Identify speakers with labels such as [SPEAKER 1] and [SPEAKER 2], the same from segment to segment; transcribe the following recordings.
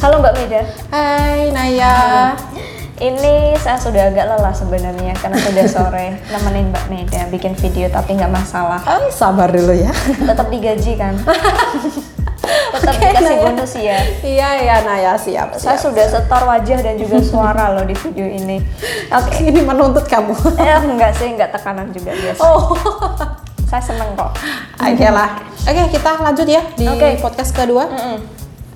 [SPEAKER 1] Halo Mbak Meda,
[SPEAKER 2] Hai Naya.
[SPEAKER 1] ini saya sudah agak lelah sebenarnya karena sudah sore nemenin Mbak Meda bikin video tapi nggak masalah.
[SPEAKER 2] Hai, sabar dulu ya.
[SPEAKER 1] Tetap digaji kan? Tetap
[SPEAKER 2] Oke, Iya.
[SPEAKER 1] dikasih
[SPEAKER 2] Naya.
[SPEAKER 1] bonus ya.
[SPEAKER 2] Iya ya Naya, siap.
[SPEAKER 1] Saya
[SPEAKER 2] siap.
[SPEAKER 1] sudah setor wajah dan juga suara loh di video ini. Oke,
[SPEAKER 2] ini menuntut kamu.
[SPEAKER 1] eh, enggak sih, enggak tekanan juga biasa.
[SPEAKER 2] Oh.
[SPEAKER 1] Saya seneng kok.
[SPEAKER 2] Oke lah. Oke, kita lanjut ya di
[SPEAKER 1] Oke.
[SPEAKER 2] podcast kedua.
[SPEAKER 1] Mm-mm.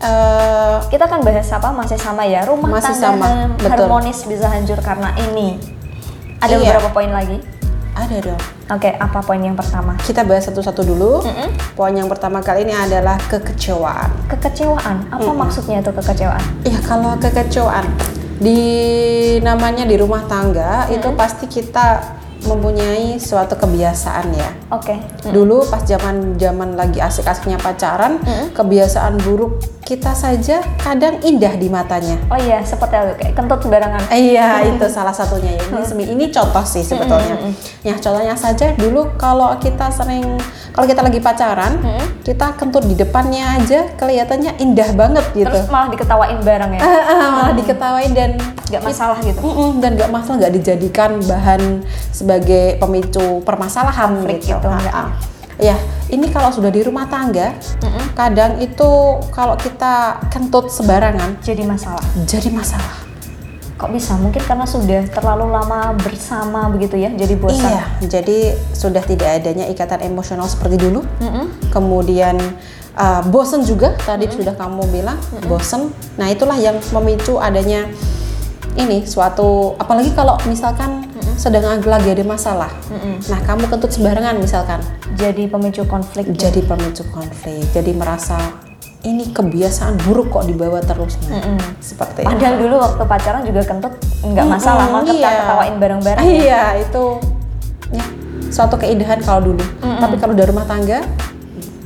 [SPEAKER 2] Eh,
[SPEAKER 1] Kita kan bahas apa masih sama ya rumah
[SPEAKER 2] Masih
[SPEAKER 1] tangga
[SPEAKER 2] sama,
[SPEAKER 1] har-
[SPEAKER 2] betul.
[SPEAKER 1] harmonis bisa hancur karena ini. Ada
[SPEAKER 2] Iya.
[SPEAKER 1] beberapa poin lagi.
[SPEAKER 2] ada dong.
[SPEAKER 1] Oke, apa poin yang pertama?
[SPEAKER 2] Kita bahas satu-satu dulu.
[SPEAKER 1] Mm-mm.
[SPEAKER 2] Poin yang pertama kali ini adalah kekecewaan.
[SPEAKER 1] Kekecewaan. Apa maksudnya itu kekecewaan?
[SPEAKER 2] Ya kalau kekecewaan di namanya di rumah tangga itu pasti kita mempunyai suatu kebiasaan ya.
[SPEAKER 1] Oke.
[SPEAKER 2] Dulu pas zaman zaman lagi asik-asiknya pacaran, kebiasaan buruk kita saja kadang indah di matanya.
[SPEAKER 1] Oh iya, seperti itu kayak kentut sembarangan.
[SPEAKER 2] Eh, Iya, itu salah satunya ya. Ini semi- ini contoh sih sebetulnya. Ya, contohnya saja dulu kalau kita sering kalau kita lagi pacaran, kita kentut di depannya aja kelihatannya indah banget gitu.
[SPEAKER 1] Terus malah diketawain bareng ya.
[SPEAKER 2] Ah, ah, malah diketawain dan
[SPEAKER 1] Nggak masalah gitu.
[SPEAKER 2] Mm-mm, dan nggak masalah nggak dijadikan bahan sebagai pemicu permasalahan
[SPEAKER 1] Konflik
[SPEAKER 2] gitu.
[SPEAKER 1] gitu,
[SPEAKER 2] Ah,
[SPEAKER 1] nggak.
[SPEAKER 2] ah. Ya, ini kalau sudah di rumah tangga, kadang itu kalau kita kentut sembarangan
[SPEAKER 1] Jadi masalah.
[SPEAKER 2] jadi masalah.
[SPEAKER 1] Kok bisa? Mungkin karena sudah terlalu lama bersama begitu ya, jadi bosan.
[SPEAKER 2] Iya, jadi sudah tidak adanya ikatan emosional seperti dulu.
[SPEAKER 1] Mm-mm.
[SPEAKER 2] Kemudian uh, bosen juga tadi sudah kamu bilang bosen. Nah, itulah yang memicu adanya ini suatu apalagi kalau misalkan sedang ag- lagi ada masalah. Nah, kamu kentut sembarangan misalkan
[SPEAKER 1] Jadi pemicu konflik. ya.
[SPEAKER 2] jadi pemicu konflik. Jadi merasa ini kebiasaan buruk kok dibawa terus. Nah, Seperti itu.
[SPEAKER 1] Padahal dulu waktu pacaran juga kentut nggak masalah, malah
[SPEAKER 2] Mm-mm,
[SPEAKER 1] kita ketawain bareng-bareng.
[SPEAKER 2] Iya, itu ya, suatu keindahan kalau dulu. Tapi kalau udah rumah tangga,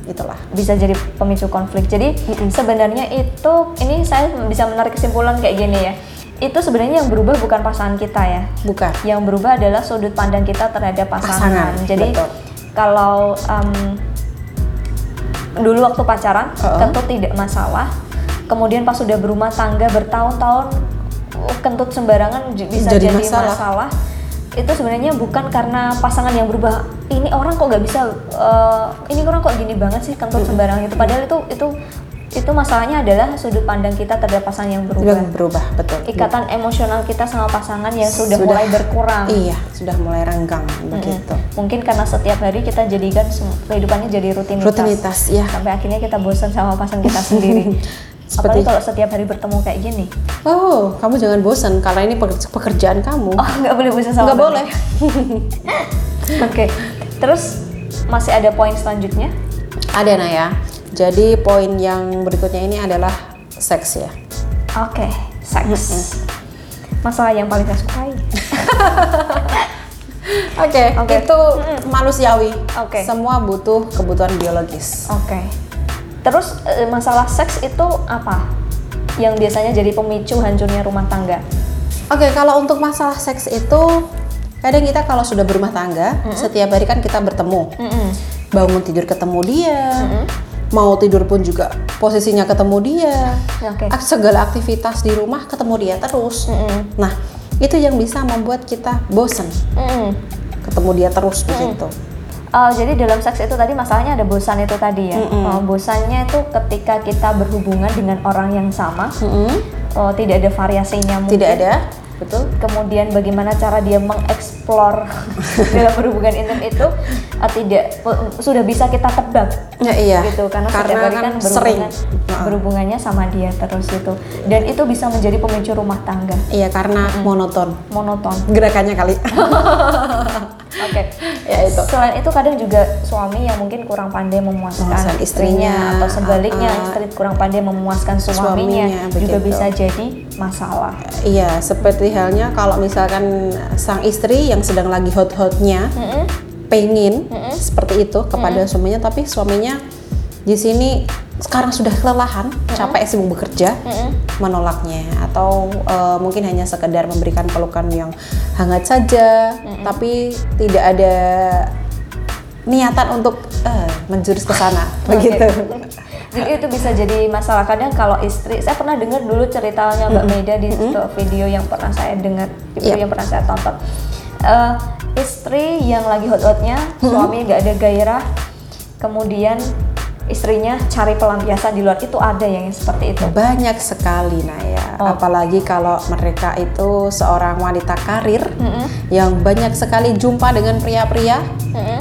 [SPEAKER 2] itulah.
[SPEAKER 1] bisa jadi pemicu konflik. Jadi sebenarnya itu ini saya bisa menarik kesimpulan kayak gini ya. Itu sebenarnya yang berubah bukan pasangan kita ya.
[SPEAKER 2] Bukan.
[SPEAKER 1] yang berubah adalah sudut pandang kita terhadap pasangan.
[SPEAKER 2] Pasangan,
[SPEAKER 1] Jadi
[SPEAKER 2] betul.
[SPEAKER 1] kalau em, dulu waktu pacaran
[SPEAKER 2] Uh-uh.
[SPEAKER 1] kentut tidak masalah, kemudian pas sudah berumah tangga bertahun-tahun uh, kentut sembarangan j- bisa jadi,
[SPEAKER 2] Jadi
[SPEAKER 1] masalah.
[SPEAKER 2] masalah.
[SPEAKER 1] Itu sebenarnya bukan karena pasangan yang berubah. Ini orang kok nggak bisa, eh, ini orang kok gini banget sih kentut sembarangan itu. Padahal itu itu itu masalahnya adalah sudut pandang kita terhadap pasangan yang berubah.
[SPEAKER 2] Berubah, berubah betul. Iya.
[SPEAKER 1] Ikatan emosional kita sama pasangan yang sudah,
[SPEAKER 2] Sudah.
[SPEAKER 1] mulai berkurang.
[SPEAKER 2] Iya, sudah mulai renggang begitu.
[SPEAKER 1] Mungkin karena setiap hari kita jadikan sem- kehidupannya jadi rutinitas.
[SPEAKER 2] Rutinitas, ya.
[SPEAKER 1] Sampai akhirnya kita bosan sama pasangan kita sendiri. Apalagi
[SPEAKER 2] Seperti-
[SPEAKER 1] kalau setiap hari bertemu kayak gini.
[SPEAKER 2] Oh, kamu jangan bosan karena ini peker- pekerjaan kamu.
[SPEAKER 1] Oh, nggak boleh bosan sama
[SPEAKER 2] Uh. Nggak
[SPEAKER 1] pasangan.
[SPEAKER 2] boleh.
[SPEAKER 1] Oke. Terus masih ada poin selanjutnya?
[SPEAKER 2] Ada Naya. Jadi poin yang berikutnya ini adalah seks ya.
[SPEAKER 1] Oke, seks. Masalah yang paling saya sukai.
[SPEAKER 2] Oke,
[SPEAKER 1] Oke.
[SPEAKER 2] itu manusiawi.
[SPEAKER 1] Oke.
[SPEAKER 2] Semua butuh kebutuhan biologis.
[SPEAKER 1] Oke. Terus eh, masalah seks itu apa? Yang biasanya jadi pemicu hancurnya rumah tangga.
[SPEAKER 2] Oke, kalau untuk masalah seks itu kadang kita kalau sudah berumah tangga, setiap hari kan kita bertemu.
[SPEAKER 1] Mm-mm.
[SPEAKER 2] Bangun tidur ketemu dia. Mau tidur pun juga posisinya ketemu dia.
[SPEAKER 1] Oke.
[SPEAKER 2] Ak- Segala aktivitas di rumah ketemu dia terus.
[SPEAKER 1] Mm-mm.
[SPEAKER 2] Nah, itu yang bisa membuat kita bosen
[SPEAKER 1] Mm-mm.
[SPEAKER 2] ketemu dia terus begitu.
[SPEAKER 1] Oh, jadi dalam seks itu tadi masalahnya ada bosan itu tadi ya. Oh, bosannya itu ketika kita berhubungan dengan orang yang sama,
[SPEAKER 2] Mm-mm.
[SPEAKER 1] oh, tidak ada variasinya mungkin.
[SPEAKER 2] Tidak ada, betul?
[SPEAKER 1] Kemudian bagaimana cara dia mengeksplor dalam berhubungan intim itu eh, tidak sudah bisa kita tebak
[SPEAKER 2] Ya, iya.
[SPEAKER 1] gitu karena, setiap hari
[SPEAKER 2] karena
[SPEAKER 1] kan
[SPEAKER 2] kan sering.
[SPEAKER 1] berhubungan,
[SPEAKER 2] Nah,
[SPEAKER 1] berhubungannya sama dia terus itu dan itu bisa menjadi pemicu rumah tangga
[SPEAKER 2] Iya, karena monoton
[SPEAKER 1] monoton.
[SPEAKER 2] gerakannya kali.
[SPEAKER 1] Oke,
[SPEAKER 2] Ya, itu.
[SPEAKER 1] Selain itu kadang juga suami yang mungkin kurang pandai memuaskan
[SPEAKER 2] Memuaskan istrinya,
[SPEAKER 1] atau sebaliknya
[SPEAKER 2] uh-uh.
[SPEAKER 1] istri kurang pandai memuaskan suaminya,
[SPEAKER 2] Suaminya,
[SPEAKER 1] juga
[SPEAKER 2] begitu.
[SPEAKER 1] bisa jadi masalah.
[SPEAKER 2] Iya, seperti halnya kalau misalkan sang istri yang sedang lagi hot-hotnya
[SPEAKER 1] Mm-mm.
[SPEAKER 2] pengen seperti itu kepada suaminya, tapi suaminya di sini sekarang sudah kelelahan, capek sibuk bekerja, menolaknya atau eh, mungkin hanya sekedar memberikan pelukan yang hangat saja, tapi tidak ada niatan untuk eh, menjurus ke sana begitu.
[SPEAKER 1] Jadi itu bisa jadi masalah kadang kalau istri. Saya pernah dengar dulu ceritanya Mbak Meda di satu video yang pernah saya dengar, di video
[SPEAKER 2] Iya.
[SPEAKER 1] yang pernah saya tonton. Eh, istri yang lagi hot-hotnya, suami nggak ada gairah, kemudian istrinya cari pelampiasan di luar itu ada ya yang seperti itu.
[SPEAKER 2] Banyak sekali Naya,
[SPEAKER 1] Oh.
[SPEAKER 2] apalagi kalau mereka itu seorang wanita karir yang banyak sekali jumpa dengan pria-pria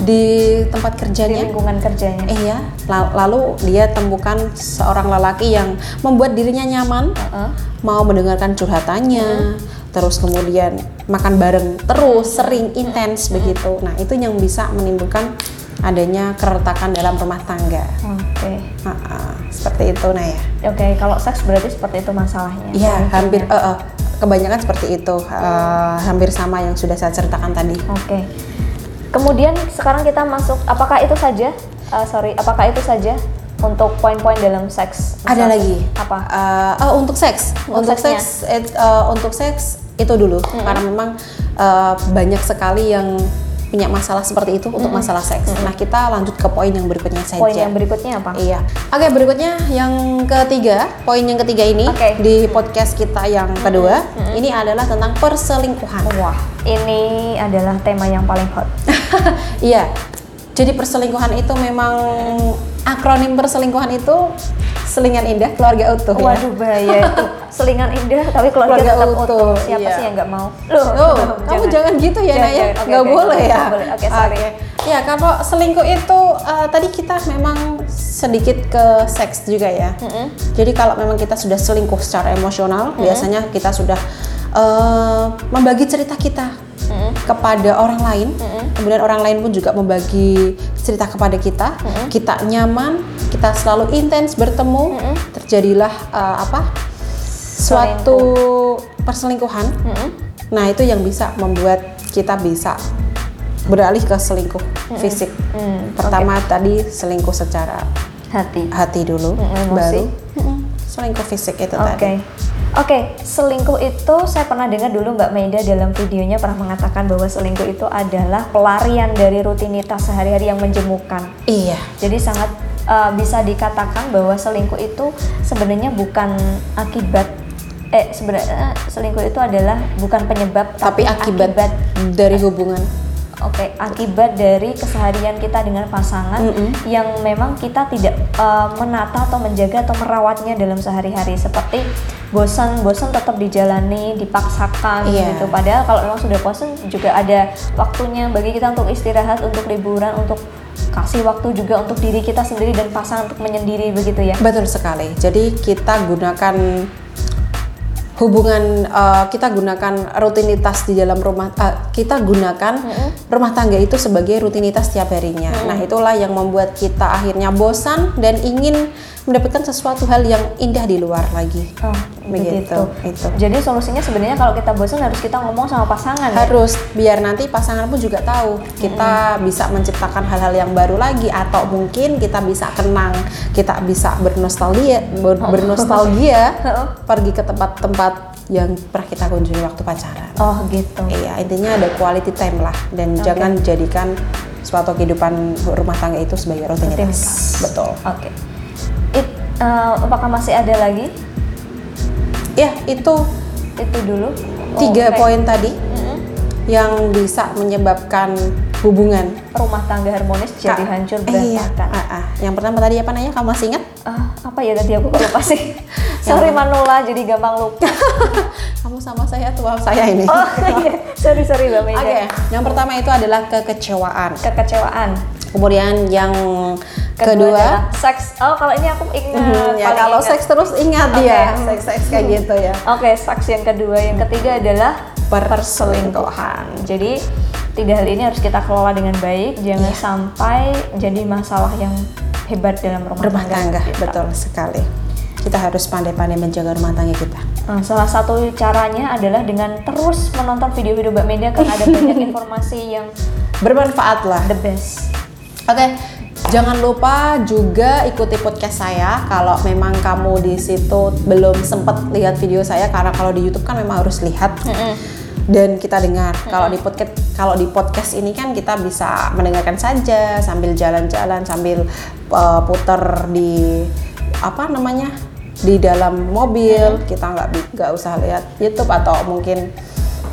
[SPEAKER 2] di
[SPEAKER 1] Di
[SPEAKER 2] tempat kerjanya.
[SPEAKER 1] lingkungan kerjanya.
[SPEAKER 2] Iya, la- lalu dia temukan seorang lelaki yang membuat dirinya nyaman,
[SPEAKER 1] Heeh.
[SPEAKER 2] mau mendengarkan curhatannya, terus kemudian makan bareng terus, sering, intens begitu. Nah, itu yang bisa menimbulkan adanya keretakan dalam rumah tangga.
[SPEAKER 1] Oke.
[SPEAKER 2] Ah, ah, seperti itu, nah ya.
[SPEAKER 1] Oke, kalau seks berarti seperti itu masalahnya.
[SPEAKER 2] Iya, hampir eh, eh, kebanyakan seperti itu, Eh, hampir sama yang sudah saya ceritakan tadi.
[SPEAKER 1] Oke. Kemudian sekarang kita masuk apakah itu saja? Eh, sorry, apakah itu saja untuk poin-poin dalam seks?
[SPEAKER 2] ada
[SPEAKER 1] Misal-
[SPEAKER 2] lagi
[SPEAKER 1] Apa?
[SPEAKER 2] Eh, oh, untuk seks
[SPEAKER 1] Untuk
[SPEAKER 2] untuk,
[SPEAKER 1] seksnya.
[SPEAKER 2] seks it- eh, untuk seks itu dulu karena memang eh, banyak sekali yang punya masalah seperti itu untuk masalah seks nah kita lanjut ke poin yang berikutnya saja
[SPEAKER 1] Poin yang berikutnya apa?
[SPEAKER 2] Iya. Oke, berikutnya yang ketiga, poin yang ketiga ini
[SPEAKER 1] Oke.
[SPEAKER 2] di podcast kita yang kedua, ini adalah tentang perselingkuhan.
[SPEAKER 1] Wah, ini adalah tema yang paling hot.
[SPEAKER 2] Iya. Jadi perselingkuhan itu memang akronim perselingkuhan itu selingan indah keluarga utuh ya.
[SPEAKER 1] Waduh bahaya itu. Selingan indah tapi keluarga,
[SPEAKER 2] Keluarga
[SPEAKER 1] tetap
[SPEAKER 2] utuh,
[SPEAKER 1] utuh. Siapa
[SPEAKER 2] iya.
[SPEAKER 1] sih yang nggak mau? Loh,
[SPEAKER 2] Oh, kamu jangan gitu ya
[SPEAKER 1] Jangan,
[SPEAKER 2] Naya,
[SPEAKER 1] jangan. Oke,
[SPEAKER 2] nggak
[SPEAKER 1] oke,
[SPEAKER 2] boleh
[SPEAKER 1] nggak
[SPEAKER 2] ya.
[SPEAKER 1] boleh. Oke, sorry.
[SPEAKER 2] Ya kalau selingkuh itu eh, tadi kita memang sedikit ke seks juga ya. Jadi kalau memang kita sudah selingkuh secara emosional, biasanya kita sudah eh, membagi cerita kita kepada orang lain, kemudian orang lain pun juga membagi cerita kepada kita. Kita nyaman, kita selalu intens bertemu, terjadilah eh, apa? suatu perselingkuhan. Nah, itu yang bisa membuat kita bisa beralih ke selingkuh fisik.
[SPEAKER 1] Hmm,
[SPEAKER 2] Pertama tadi selingkuh secara
[SPEAKER 1] Hati.
[SPEAKER 2] hati dulu,
[SPEAKER 1] Mm, emosi.
[SPEAKER 2] baru mm, selingkuh fisik itu tadi.
[SPEAKER 1] Oke. Oke, selingkuh itu saya pernah dengar dulu Mbak Maida dalam videonya pernah mengatakan bahwa selingkuh itu adalah pelarian dari rutinitas sehari-hari yang menjemukan.
[SPEAKER 2] Iya.
[SPEAKER 1] Jadi sangat eh, bisa dikatakan bahwa selingkuh itu sebenarnya bukan akibat eh sebenarnya eh, selingkuh itu adalah bukan penyebab
[SPEAKER 2] Tapi akibat, dari hubungan.
[SPEAKER 1] Oke, akibat dari keseharian kita dengan pasangan yang memang kita tidak eh, menata atau menjaga atau merawatnya dalam sehari-hari seperti bosan-bosan tetap dijalani, dipaksakan
[SPEAKER 2] Iya.
[SPEAKER 1] gitu. Padahal kalau memang sudah bosan juga ada waktunya bagi kita untuk istirahat, untuk liburan, untuk kasih waktu juga untuk diri kita sendiri dan pasangan untuk menyendiri begitu ya.
[SPEAKER 2] Betul sekali. Jadi kita gunakan hubungan eh, kita gunakan rutinitas di dalam rumah eh, kita gunakan rumah tangga itu sebagai rutinitas tiap harinya. Nah, itulah yang membuat kita akhirnya bosan dan ingin mendapatkan sesuatu hal yang indah di luar lagi.
[SPEAKER 1] Oh,
[SPEAKER 2] Begitu, itu.
[SPEAKER 1] Jadi solusinya sebenarnya kalau kita bosan harus kita ngomong sama pasangan. ya?
[SPEAKER 2] Harus biar nanti pasangan pun juga tahu kita bisa menciptakan hal-hal yang baru lagi atau mungkin kita bisa kenang, kita bisa bernostalgia, ber- bernostalgia pergi ke tempat-tempat yang pernah kita kunjungi waktu pacaran.
[SPEAKER 1] Oh, gitu.
[SPEAKER 2] Iya, intinya ada quality time lah dan jangan jadikan suatu kehidupan rumah tangga itu sebagai rutinitas.
[SPEAKER 1] Rutinitas.
[SPEAKER 2] Betul.
[SPEAKER 1] Oke. It- eh, apakah masih ada lagi?
[SPEAKER 2] Ya, itu
[SPEAKER 1] Itu dulu. Oh,
[SPEAKER 2] tiga
[SPEAKER 1] Oke.
[SPEAKER 2] poin tadi
[SPEAKER 1] Mm-mm.
[SPEAKER 2] yang bisa menyebabkan hubungan
[SPEAKER 1] Rumah tangga harmonis jadi
[SPEAKER 2] Kak,
[SPEAKER 1] hancur
[SPEAKER 2] iya.
[SPEAKER 1] berantakan.
[SPEAKER 2] Ah, ah. Yang pertama tadi apa nanya? Kamu masih ingat?
[SPEAKER 1] Ah, apa ya tadi aku kok lupa sih? Sorry
[SPEAKER 2] Iya.
[SPEAKER 1] Manula, jadi gampang lupa.
[SPEAKER 2] Kamu sama saya tua saya ini.
[SPEAKER 1] Oh iya, sorry sorry Mbak Meda.
[SPEAKER 2] Oke, yang pertama itu adalah kekecewaan.
[SPEAKER 1] Kekecewaan.
[SPEAKER 2] Kemudian yang
[SPEAKER 1] Kedua,
[SPEAKER 2] kedua,
[SPEAKER 1] adalah seks. Oh kalau ini aku ingat.
[SPEAKER 2] Hmm, ya
[SPEAKER 1] paling
[SPEAKER 2] kalau
[SPEAKER 1] ingat.
[SPEAKER 2] seks terus ingat
[SPEAKER 1] Oke. mhm.
[SPEAKER 2] ya, seks seks kayak gitu ya.
[SPEAKER 1] Oke, seks yang kedua, yang ketiga adalah
[SPEAKER 2] Perselingkuhan.
[SPEAKER 1] Jadi tiga hal ini harus kita kelola dengan baik, jangan
[SPEAKER 2] Iya.
[SPEAKER 1] sampai jadi masalah yang hebat dalam rumah, Gitu.
[SPEAKER 2] Rumah tangga,
[SPEAKER 1] kita.
[SPEAKER 2] betul sekali. Kita harus pandai-pandai menjaga rumah tangga kita.
[SPEAKER 1] Nah, salah satu caranya adalah dengan terus menonton video-video Mbak Meda karena ada banyak informasi yang
[SPEAKER 2] Bermanfaat lah.
[SPEAKER 1] the best.
[SPEAKER 2] Oke, jangan lupa juga ikuti podcast saya. Kalau memang kamu di situ belum sempat lihat video saya, karena kalau di YouTube kan memang harus lihat. dan kita dengar. Kalau di podcast kalau di podcast ini kan kita bisa mendengarkan saja sambil jalan-jalan, sambil eh, putar di apa namanya? di dalam mobil, kita nggak bi- nggak usah lihat YouTube atau mungkin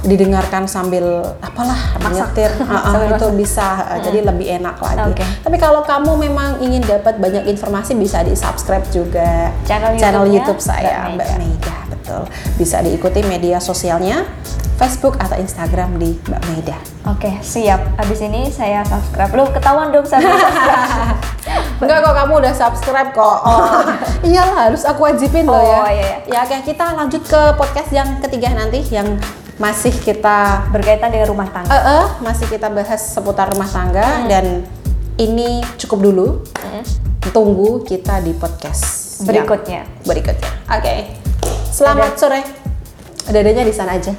[SPEAKER 2] didengarkan sambil apalah menyetir Ah, ah, itu bisa eh, jadi lebih enak lagi.
[SPEAKER 1] Oke.
[SPEAKER 2] Tapi kalau kamu memang ingin dapat banyak informasi bisa di subscribe juga
[SPEAKER 1] Channel YouTube-nya
[SPEAKER 2] YouTube saya
[SPEAKER 1] Mbak
[SPEAKER 2] Mbak Meida betul. Bisa diikuti media sosialnya Facebook atau Instagram di Mbak Meida.
[SPEAKER 1] Oke, siap. Abis ini saya subscribe. Lu ketahuan dong saya belum subscribe.
[SPEAKER 2] Enggak kok kamu udah subscribe kok. Iyalah Oh, iya harus aku wajibin loh ya.
[SPEAKER 1] Oh, iya,
[SPEAKER 2] Ya oke kita lanjut ke podcast yang ketiga nanti yang masih kita
[SPEAKER 1] Berkaitan dengan rumah tangga.
[SPEAKER 2] eh eh, masih kita bahas seputar rumah tangga
[SPEAKER 1] Hmm.
[SPEAKER 2] dan ini cukup dulu. Tunggu kita di podcast yang
[SPEAKER 1] Berikutnya.
[SPEAKER 2] berikutnya. Oke. Selamat sore. Dadanya di sana aja.